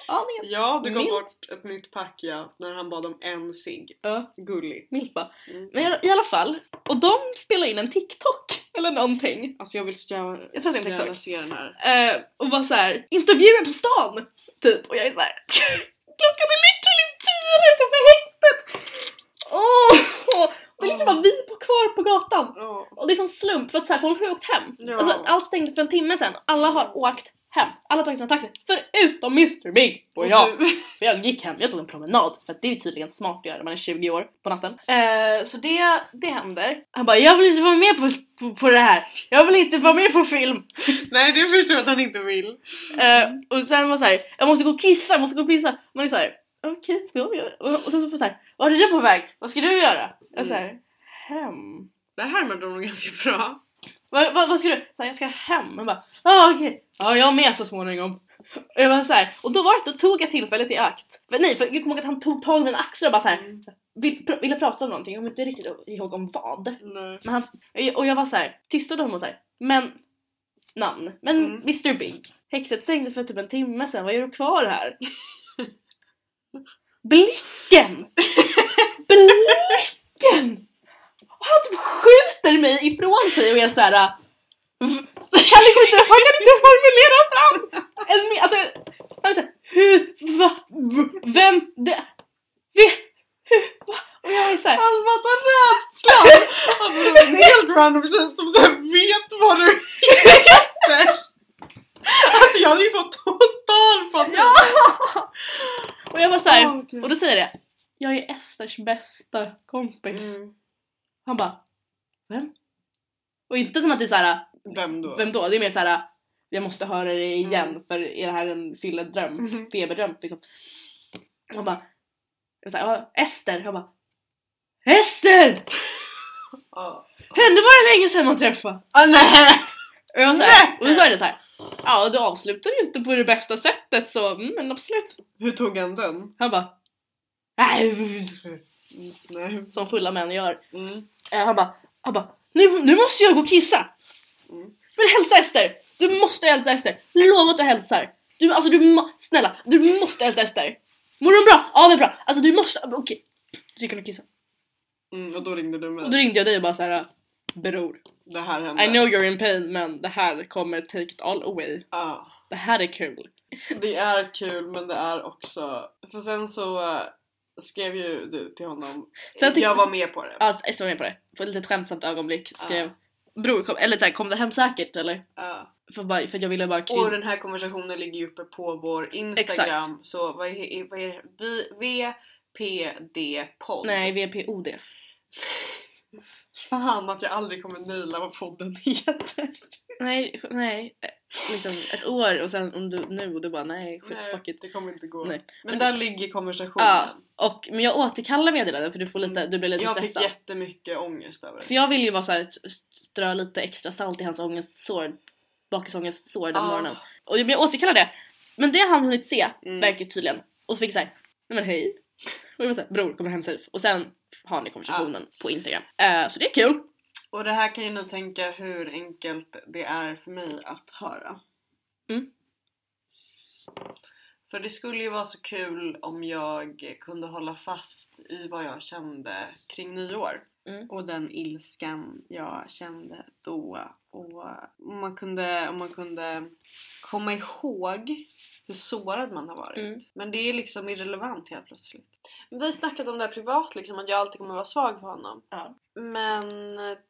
S2: Aningen.
S1: ja du gav
S2: Milt.
S1: bort ett nytt pack ja, när han bad om en cigg.
S2: Ja,
S1: Gulligt.
S2: milt bara.
S1: Mm.
S2: Men i- i alla fall, och de spelar in en TikTok eller någonting.
S1: Alltså jag vill så jävla,
S2: Jag tror att det är en
S1: så jävla
S2: TikTok.
S1: se den här.
S2: Eh, och var så här: intervjuer på stan! Typ, och jag är så här. klockan är literally fyra utanför häktet! Åh! det är liksom bara vi på kvar på gatan.
S1: Ja.
S2: Och det är sån slump för att så här, folk har ju åkt hem.
S1: Ja.
S2: Alltså, allt stängde för en timme sedan, alla har åkt hem. Alla har tagit sina taxi, förutom Mr Big! Och jag,
S1: du-
S2: för jag gick hem, jag tog en promenad för att det är ju tydligen smart att göra när man är 20 år på natten. Eh, så det, det händer. Han bara, jag vill inte vara med på, på, på det här, jag vill inte vara med på film!
S1: nej det förstår jag att han inte vill.
S2: Eh, och sen var så här, jag måste gå och kissa, jag måste gå och pissa. Man är så här, okej, ja, ja. Och- Och sen så får jag så här, vart är du på väg? Vad ska du göra? Jag är så här, hem.
S1: Det här med de nog ganska bra.
S2: Vad, vad, vad ska du? Så här, jag ska hem. Man bara, ja ah, okej. Ja, jag med så småningom. Och jag var så här, och då var det, då tog jag tillfället i akt. Men nej, för jag kommer ihåg att han tog tag i mina axlar och bara så här,
S1: Mm.
S2: vill, pr- ville prata om någonting. Jag kommer inte riktigt ihåg om vad.
S1: Nej.
S2: Men han, och jag var så här, tystade honom och så här, men namn, men
S1: Mm.
S2: Mr Big. Häktet stängde för typ en timme sedan, vad gör du kvar här? Blicken! Blicken! Och han typ skjuter mig ifrån sig och jag är så här. v- Kan liksom inte, han kan inte formulera fram en me- alltså, han är såhär, hur, va, v- vem, det, vi, hur, va? Och jag är såhär,
S1: Han fattar rädslan! Han bara, Alltså, en helt random tjej som så här vet vad du heter! Alltså jag hade ju fått total panik!
S2: Och jag var såhär,
S1: Åh, gud.
S2: och då säger jag det. Jag är Esters bästa kompis.
S1: Mm.
S2: Han bara, vem? Och inte som att det är såhär,
S1: Vem då?
S2: vem då? Det är mer såhär, jag måste höra det igen
S1: Mm.
S2: för är det här en fylledröm?
S1: Mhm.
S2: Feberdröm liksom. Och han bara, jag var såhär, ja, Ester. Han bara, Ester!
S1: Ja.
S2: Hände var det länge sedan man träffade.
S1: Ah, nej!
S2: Och, jag var såhär,
S1: Nej!
S2: och då sa jag det såhär, ja du avslutar ju inte på det bästa sättet så, mm, men absolut.
S1: Hur tog han den?
S2: Han bara, nej,
S1: Mm, Nej.
S2: som fulla män gör.
S1: Mm.
S2: Eh, han bara, han bara, nu, nu måste jag gå och kissa!
S1: Mm.
S2: Men hälsa Ester! Du måste hälsa Ester! Lova att du hälsar! Du, alltså du må, snälla, du måste hälsa Ester! Mår hon bra? Ja det är bra! Alltså du måste, okej. Så gick han och kissade.
S1: Mm, och då ringde du mig.
S2: Och då ringde jag dig och bara såhär, bror.
S1: Det här hände.
S2: I know you're in pain men det här kommer take it all away.
S1: Ja.
S2: Det här är kul.
S1: Det är kul men det är också... För sen så eh, skrev ju du till honom.
S2: Sen tyckte-
S1: jag var med på det.
S2: Ja, jag står Alltså, med på det. På ett litet skämtsamt ögonblick skrev Bror, kom, eller så här, kom du hem säkert eller?
S1: Ja.
S2: För, bara, för jag ville bara krydda.
S1: Och den här konversationen ligger ju uppe på vår Instagram. Så vad är, vad är det? Vi- VPD podd.
S2: Nej, VPOD.
S1: Fan att jag aldrig kommer naila vad podden heter.
S2: Nej, nej. eh, Liksom ett år och sen om du, nu och du bara nej, skit,
S1: Nej,
S2: fuck it.
S1: det kommer inte gå.
S2: Nej.
S1: Men,
S2: Men-
S1: där ligger konversationen.
S2: Ja, Och, men jag återkallar meddelandet för du, får lite,
S1: Mm.
S2: du blir lite
S1: jag
S2: stressad.
S1: fick jättemycket ångest över
S2: För
S1: det.
S2: jag vill ju bara så här, st- strö lite extra salt i hans ångestsår, bakisångestsår den
S1: Ja.
S2: morgonen. Och jag, men jag återkallar det. Men det har han hunnit se,
S1: Mm.
S2: verkar tydligen. Och fick såhär, nej men hej. Och jag var såhär, bror kommer hem safe. Och sen har ni konversationen
S1: Ah.
S2: på Instagram. Eh, så det är kul.
S1: Och det här kan ju ni tänka hur enkelt det är för mig att höra.
S2: Mm.
S1: För det skulle ju vara så kul om jag kunde hålla fast i vad jag kände kring nyår.
S2: Mm.
S1: Och den ilskan jag kände då. Och om man kunde, om man kunde komma ihåg hur sårad man har varit.
S2: Mm.
S1: Men det är liksom irrelevant helt plötsligt. Vi har snackat om det här privat, liksom, att jag alltid kommer vara svag för honom.
S2: Ja.
S1: Men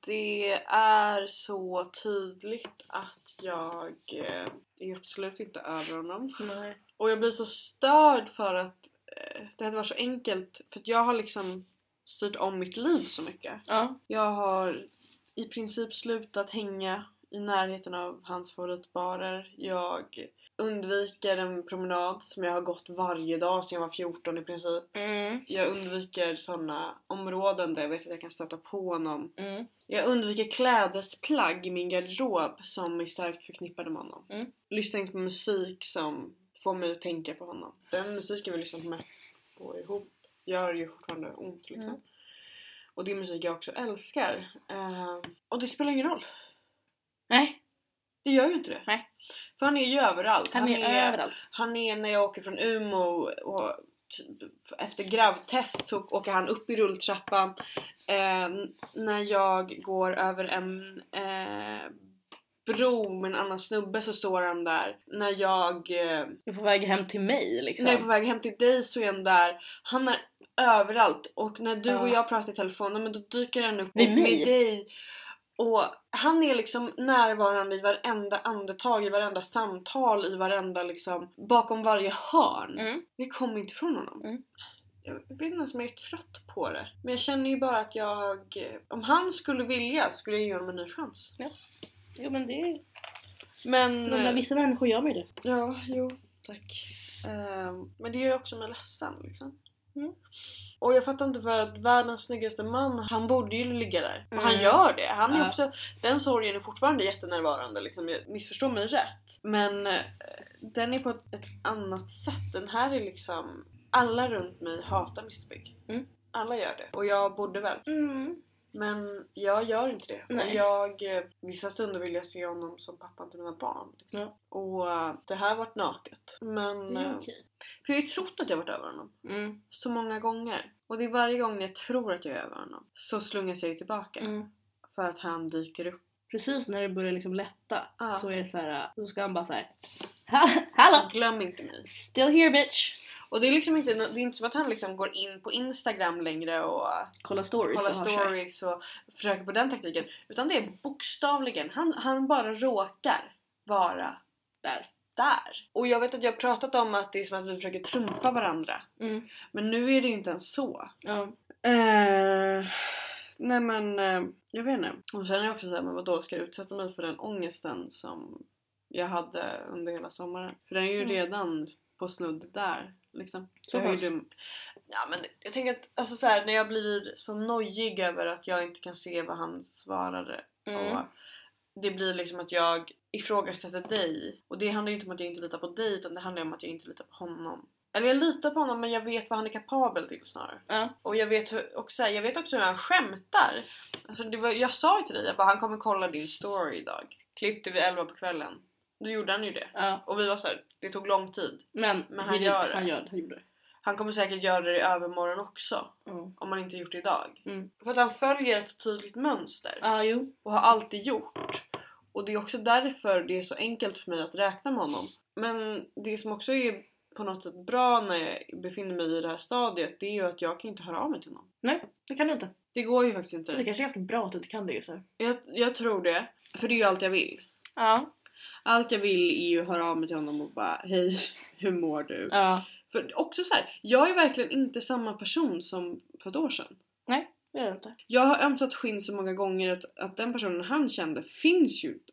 S1: det är så tydligt att jag eh, är absolut inte över honom.
S2: Nej.
S1: Och jag blir så störd för att eh, det hade varit så enkelt. För att jag har liksom styrt om mitt liv så mycket.
S2: Ja.
S1: Jag har i princip slutat hänga i närheten av hans favoritbarer. Jag undviker en promenad som jag har gått varje dag sedan jag var 14 i princip.
S2: Mm.
S1: Jag undviker sådana områden där jag vet att jag kan stöta på honom.
S2: Mm.
S1: Jag undviker klädesplagg i min garderob som är starkt förknippade med honom.
S2: Mm.
S1: Lyssnar inte på musik som får mig att tänka på honom. Den musiken vi lyssnar på mest på ihop gör ju fortfarande ont liksom.
S2: Mm.
S1: Och det är musik jag också älskar. Eh, och det spelar ingen roll.
S2: Nej,
S1: Det gör ju inte det.
S2: Nej.
S1: För han är ju överallt.
S2: han, är, överallt.
S1: Han är när jag åker från Umeå och typ efter gravtest så åker han upp i rulltrappan. Eh, n- när jag går över en eh, bro med en annan snubbe så står han där. När jag, eh,
S2: Du är på väg hem till mig liksom.
S1: när jag är på väg hem till dig så är han där. Han är överallt och när du
S2: Ja.
S1: och jag pratar i telefon nej, men då dyker han upp
S2: Vid
S1: och-
S2: mig.
S1: med dig. Och han är liksom närvarande i varenda andetag, i varenda samtal, i varenda liksom bakom varje hörn.
S2: Mm.
S1: Vi kommer inte ifrån honom.
S2: Mm.
S1: Jag vet inte ens om jag är trött på det. Men jag känner ju bara att jag... eh, Om han skulle vilja skulle jag ge honom en ny chans.
S2: Jo men det är...
S1: Men...
S2: Men
S1: eh,
S2: vissa människor gör mig det.
S1: Ja, jo, tack. Ehm, men det gör ju också mig ledsen liksom.
S2: Mm.
S1: Och jag fattar inte för att världens snyggaste man, han borde ju ligga där. Och han
S2: Mm.
S1: gör det. Han är
S2: Ja.
S1: också, den sorgen är fortfarande jättenärvarande liksom. Jag missförstår mig rätt. Men eh, den är på ett, ett annat sätt. Den här är liksom, alla runt mig hatar Missbygg.
S2: Mm.
S1: Alla gör det. Och jag borde väl.
S2: Mm.
S1: Men jag gör inte det. Och
S2: Nej.
S1: jag, eh, vissa stunder vill jag se honom som pappan till mina barn. Liksom.
S2: Ja. Mm.
S1: Och eh, det här har varit naket. Men,
S2: Det är
S1: eh,
S2: okej.
S1: för jag har ju trott att jag har varit över honom.
S2: Mm.
S1: Så många gånger. Och det är varje gång jag tror att jag är över honom så slungas jag ju tillbaka.
S2: Mm.
S1: För att han dyker upp.
S2: Precis när det börjar liksom lätta
S1: Ja.
S2: så är det så här. då ska han bara såhär Hallå!
S1: Glöm inte mig.
S2: Still here bitch!
S1: Och det är liksom inte, det är inte som att han liksom går in på Instagram längre och eh,
S2: Kolla stories
S1: kollar
S2: och har sig.
S1: stories och försöker på den taktiken. Utan det är bokstavligen, han, han bara råkar vara
S2: där.
S1: där. Och jag vet att jag har pratat om att det är som att vi försöker trumfa varandra.
S2: Mm.
S1: Men nu är det ju inte ens så.
S2: Ja.
S1: Eh, nej men, eh, jag vet inte. Och sen är det också såhär, men vadå ska jag utsätta mig för den ångesten som jag hade under hela sommaren? För den är ju
S2: Mm.
S1: redan på snudd där. Liksom.
S2: Så
S1: Jag har ju
S2: pass.
S1: dum- Ja men jag tänker att, alltså så här, när jag blir så nojig över att jag inte kan se vad han svarade och
S2: Mm.
S1: det blir liksom att jag ifrågasätter dig. Och det handlar ju inte om att jag inte litar på dig utan det handlar om att jag inte litar på honom. Eller jag litar på honom men jag vet vad han är kapabel till snarare.
S2: Ja.
S1: Och jag vet, hur, och så här, jag vet också hur han skämtar. Alltså det var, jag sa ju till dig jag bara, han kommer kolla din story idag. Klippte vid 11 på kvällen. Då gjorde han ju det.
S2: ja.
S1: Och vi var så här, det tog lång tid.
S2: Men,
S1: Men han gör det.
S2: Han gör det. Han gjorde det.
S1: Han kommer säkert göra det i övermorgon också.
S2: Ja.
S1: Om han inte gjort det idag.
S2: Mm.
S1: För att han följer ett tydligt mönster.
S2: Ja, jo.
S1: och har alltid gjort. Och det är också därför det är så enkelt för mig att räkna med honom. Men det som också är på något sätt bra när jag befinner mig i det här stadiet det är ju att jag kan inte höra av mig till någon.
S2: Nej, det kan du inte.
S1: Det går ju faktiskt
S2: Det
S1: inte.
S2: kanske är ganska bra att du inte kan det just nu.
S1: Jag, jag tror det. För det är ju allt jag vill.
S2: Ja.
S1: Allt jag vill är ju höra av mig till honom och bara hej, hur mår du?
S2: Ja,
S1: För också så här, jag är verkligen inte samma person som för ett år sedan.
S2: det är det inte.
S1: Jag har ömsat skinn så många gånger att, att den personen han kände finns ju inte.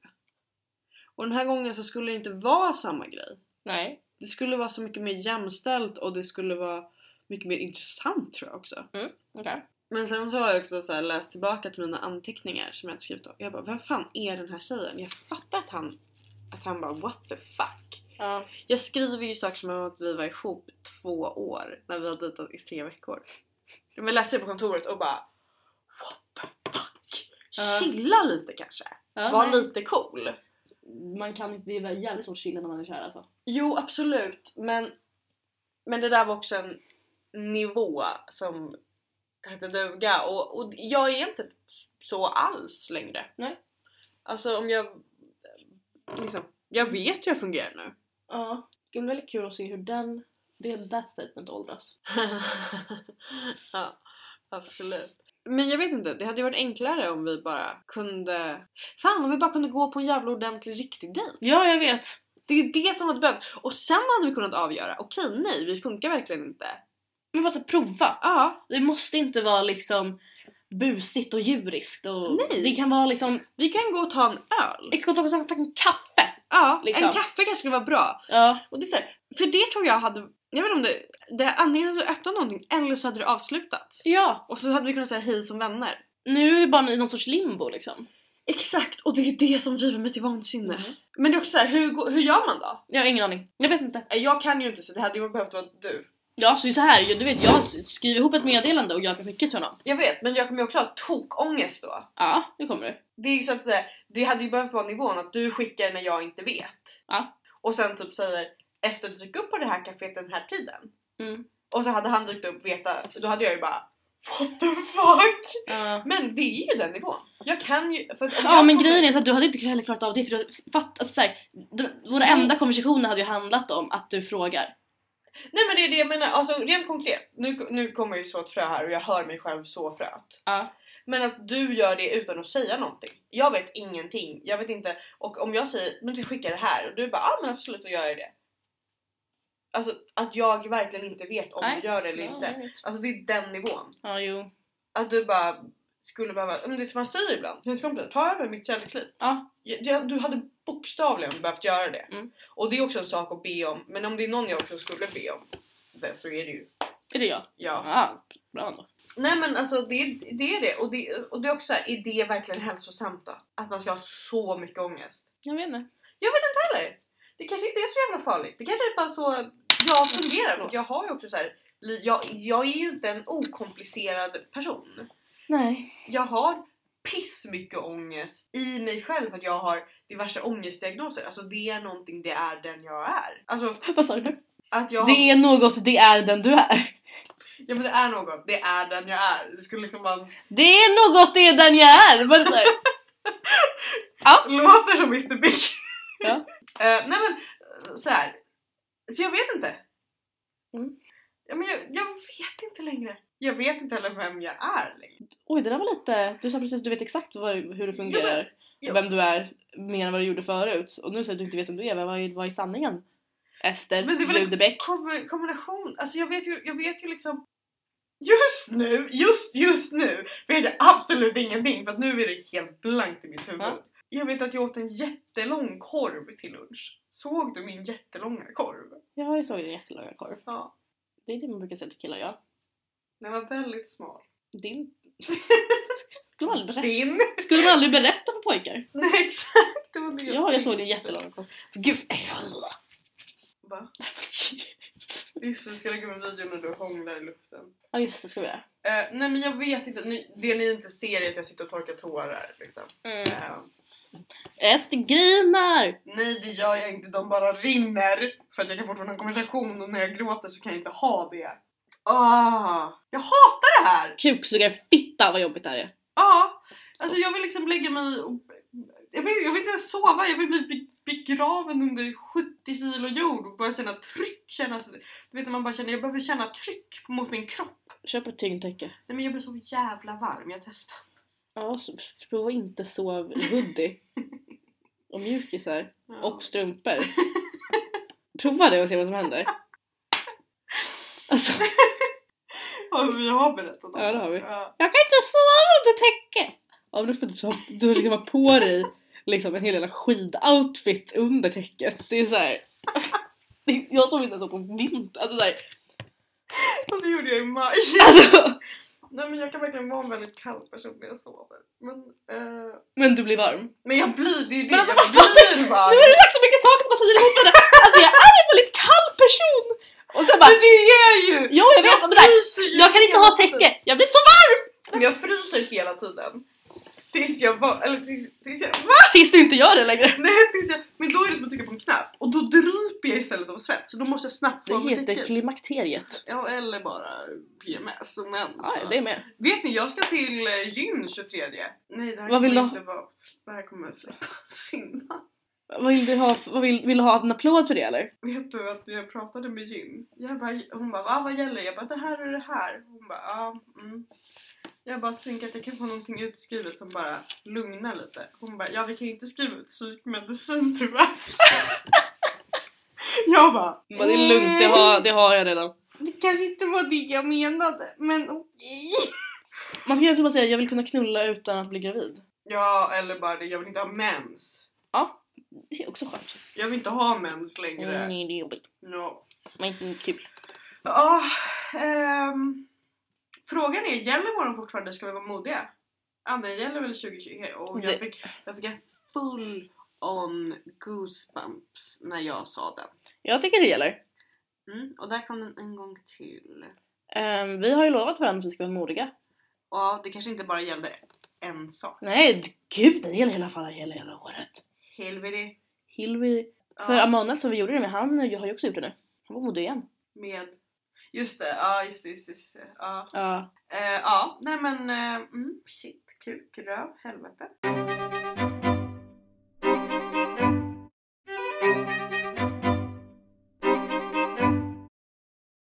S1: Och den här gången så skulle det inte vara samma grej.
S2: Nej.
S1: Det skulle vara så mycket mer jämställt och det skulle vara mycket mer intressant tror jag också.
S2: Okej.
S1: Men sen så har jag också så här läst tillbaka till mina anteckningar som jag inte skrivit av. Jag bara, vem fan är den här tjejen? Jag fattar att han, att han bara what the fuck.
S2: Ja.
S1: Jag skriver ju saker som om att vi var ihop två år när vi har dejtat i tre veckor. Men läser det på kontoret och bara What the fuck?
S2: Ja.
S1: Chilla lite kanske?
S2: ja
S1: Var
S2: nej.
S1: lite cool?
S2: Man kan inte, det är jävligt svårt att chilla när man är kär alltså.
S1: Jo absolut men Men det där var också en nivå som hette duga och, och jag är inte så alls längre.
S2: Nej.
S1: Alltså om jag liksom, jag vet hur jag fungerar nu.
S2: Ja. Det skulle bli väldigt kul att se hur den, det that statement åldras.
S1: ja, absolut. Men jag vet inte, det hade ju varit enklare om vi bara kunde... Fan, om vi bara kunde gå på en jävla ordentlig riktig dejt.
S2: Ja, jag vet!
S1: Det är ju det som hade behövts. Och sen hade vi kunnat avgöra, okej nej, vi funkar verkligen inte.
S2: Men bara så här, prova!
S1: Ja,
S2: Det måste inte vara liksom busigt och djuriskt och
S1: Nej.
S2: det kan vara liksom,
S1: vi kan gå och ta en öl.
S2: det kan också ta en kaffe!
S1: Ja,
S2: Liksom.
S1: en kaffe kanske skulle vara bra.
S2: Ja,
S1: Och det är så här, för det tror jag hade... Jag vet inte om det... det antingen hade det öppnat någonting eller så hade det avslutats.
S2: ja.
S1: Och så hade vi kunnat säga hej som vänner.
S2: Nu är vi bara i någon sorts limbo liksom.
S1: Exakt! Och det är det som driver mig till vansinne.
S2: Mhm.
S1: Men det är också så här, hur, går- hur gör man då?
S2: Jag har ingen aning. Jag vet inte.
S1: Nej, Jag kan ju inte så det hade ju behövt vara du.
S2: Ja, så det är så här, du vet jag skriver ihop ett meddelande och gör för mycket till honom.
S1: Jag vet, men jag kommer ju också ha tokångest då.
S2: Ja, nu kommer du.
S1: Det är ju så att säga, det hade ju behövt vara nivån att du skickar när jag inte vet.
S2: Ja.
S1: Och sen typ säger Ester dyk upp på det här kaféet den här tiden.
S2: Mm.
S1: Och så hade han dykt upp veta, då hade jag ju bara What the fuck?
S2: Ja.
S1: Men det är ju den nivån. Jag kan ju... För att om
S2: Ja
S1: jag
S2: men
S1: kommer-
S2: grejen är så att du hade inte heller klarat av det för du fatt, alltså, så här, de, våra
S1: Nej.
S2: enda konversationer hade ju handlat om att du frågar.
S1: Nej men det är det jag menar, alltså rent konkret. Nu, nu kommer jag ju så ett frö här och jag hör mig själv så fröet.
S2: Ja.
S1: Men att du gör det utan att säga någonting. Jag vet ingenting. Jag vet inte. Och om jag säger men du skickar det här och du bara ja ah, men absolut då gör jag det. Alltså att jag verkligen inte vet om
S2: Nej.
S1: du gör det eller inte. Alltså det är den nivån.
S2: Ja, jo.
S1: Skulle behöva, men det är som man säger ibland. Hennes kompisar, ta över mitt kärleksliv.
S2: Ja.
S1: Jag- jag- Du hade bokstavligen behövt göra det.
S2: Mm.
S1: Och det är också en sak att be om. Men om det är någon jag också skulle be om det så är det ju
S2: Är det jag?
S1: ja.
S2: Ja, bra ändå.
S1: Nej men alltså det, det är det. Och, det. och det är också så här, är det verkligen hälsosamt då? Att man ska ha så mycket ångest?
S2: Jag vet inte.
S1: Eller? Det kanske inte är så jävla farligt. Det kanske är bara så jag fungerar. För jag har ju också så här, li- jag, jag är ju inte en okomplicerad person.
S2: Nej.
S1: Jag har piss mycket ångest i mig själv för att jag har diverse ångestdiagnoser. Alltså det är någonting, det är den jag är. Alltså
S2: Vad sa du nu?
S1: att jag
S2: Det är något, det är den du är.
S1: Ja men det är något, det är den jag är. Det skulle liksom vara...
S2: Det är något, det är den jag är! Var det så här?
S1: Låter som Mr Big.
S2: Ja.
S1: Eh, nej men eh, så här. Så jag vet inte.
S2: Mm.
S1: Ja, men jag, jag vet inte längre. Jag vet inte heller vem jag är längre.
S2: Oj, det där var lite... Du sa precis att du vet exakt vad, hur du fungerar,
S1: ja.
S2: och vem du är, mer än vad du gjorde förut. Och nu säger du att du inte vet vem du är, men vad är, vad är sanningen? Ester
S1: Men det är väl-
S2: Rudbeck.
S1: Kom, kombination. Alltså jag vet ju, jag vet ju liksom. Just nu, just, just nu vet jag absolut ingenting för att nu är det helt blankt i mitt huvud.
S2: Ja.
S1: Jag vet att jag åt en jättelång korv till lunch. Såg du min jättelånga korv?
S2: Ja, jag såg din jättelånga korv.
S1: Ja.
S2: Det är det man brukar säga till killar, ja.
S1: Den var väldigt smal.
S2: Din... Skulle man aldrig berätta,
S1: Din?
S2: skulle man aldrig berätta för pojkar?
S1: Nej exakt, det var det
S2: Ja, jag såg din
S1: tänkte.
S2: jättelånga korv. Gud,
S1: Va? Just det, vi ska lägga upp en video när du hånglar i luften.
S2: Ja, just det, ska vi göra.
S1: Eh, nej men jag vet inte, ni, det ni inte ser är att jag sitter och torkar tårar liksom.
S2: Mm.
S1: Eh,
S2: Ester grinar!
S1: nej det gör jag inte, de bara rinner. För att jag kan fortfarande ha en konversation och när jag gråter så kan jag inte ha det. Ah, jag hatar det här!
S2: Kuksugarfitta vad jobbigt det här är.
S1: Ja, alltså jag vill liksom lägga mig och... Jag vill, jag vill inte ens sova, jag vill bli be- begraven under 70 30 kilo jord och börjar känna tryck. Känna, du vet när man bara känner jag behöver känna tryck mot min kropp.
S2: Köp ett tyngdtäcke.
S1: Nej men jag blir så jävla varm, jag testar.
S2: Ja, så- prova inte sov i hoodie. och mjukisar.
S1: Ja.
S2: Och strumpor. prova det och se vad som händer. Alltså,
S1: Ja, vi har berättat om
S2: Ja, det har vi.
S1: Ja.
S2: jag kan inte sova under täcke! Ja, men då får du, så, du liksom ha på dig liksom en hel jävla skidoutfit under täcket. Det är så här. Det är- Jag sov inte så på vinter. Alltså, så här.
S1: Och det gjorde jag i maj.
S2: alltså,
S1: Nej men jag kan verkligen vara en väldigt kall person när jag sover. Men, eh,
S2: men du blir varm.
S1: men jag blir, det är det.
S2: Men alltså,
S1: jag
S2: vad fan
S1: blir
S2: Nu har
S1: varm.
S2: du sagt så mycket saker som man säger emot varandra. Alltså jag är en väldigt kall person! Och sen bara,
S1: Men det är jag ju!
S2: jo jag vet, men så här,
S1: fryser ju
S2: jag kan inte
S1: hela
S2: ha
S1: tiden.
S2: täcke, jag blir så varm
S1: Men jag fryser hela tiden. Tills jag bara, eller tills, tills jag, va?
S2: tills du inte gör det längre.
S1: Nej tills jag, men då är det som att trycka på en knapp och då dryper jag istället av svett så då måste jag snabbt få
S2: Det
S1: mig
S2: heter
S1: täcket.
S2: klimakteriet.
S1: Ja eller bara PMS och mens.
S2: Ja, det är med.
S1: Vet ni jag ska till eh, gyn 23. Nej det här
S2: Vad vill
S1: kommer
S2: du
S1: inte vara, det här kommer släppas innan.
S2: Vad vill du ha, vad vill, vill du ha en applåd för det eller?
S1: Vet du att jag pratade med Jim? Jag bara, hon bara ah, vad gäller det? Jag bara det här och det här. Hon bara ja. Ah, mm. Jag bara tänker att jag kan få någonting utskrivet som bara lugnar lite. Hon bara ja vi kan ju inte skriva ut psykmedicin tyvärr. jag bara "Mm,
S2: Bara, det är lugnt, det har, det har jag redan.
S1: det kanske inte var det jag menade men okej.
S2: Man ska egentligen bara säga jag vill kunna knulla utan att bli gravid.
S1: Ja eller bara det, jag vill inte ha mens.
S2: Det är också skönt.
S1: Jag vill inte ha mens längre.
S2: Mm, det är jobbigt.
S1: No.
S2: Men det är kul.
S1: Ja, ehm, frågan är, gäller våran fortfarande ska vi vara modiga? Ja, den gäller väl 2020 och jag
S2: Det-
S1: fick, jag fick en full on goosebumps när jag sa den.
S2: Jag tycker det gäller.
S1: Mm, och där kom den en gång till.
S2: Ehm, vi har ju lovat varandra att vi ska vara modiga.
S1: Och ja, det kanske inte bara gällde en sak.
S2: Nej, gud det gäller hela fallet, hela, hela året.
S1: Helvete.
S2: Hilvi
S1: Ja,
S2: För Amanel som vi gjorde det med, han har ju också gjort det nu. Han var modig igen.
S1: med... Just det, ja just det, just det, just det. Ja.
S2: Ja.
S1: Eh, ja, nej men eh, mm, shit, kuk, röv, helvete.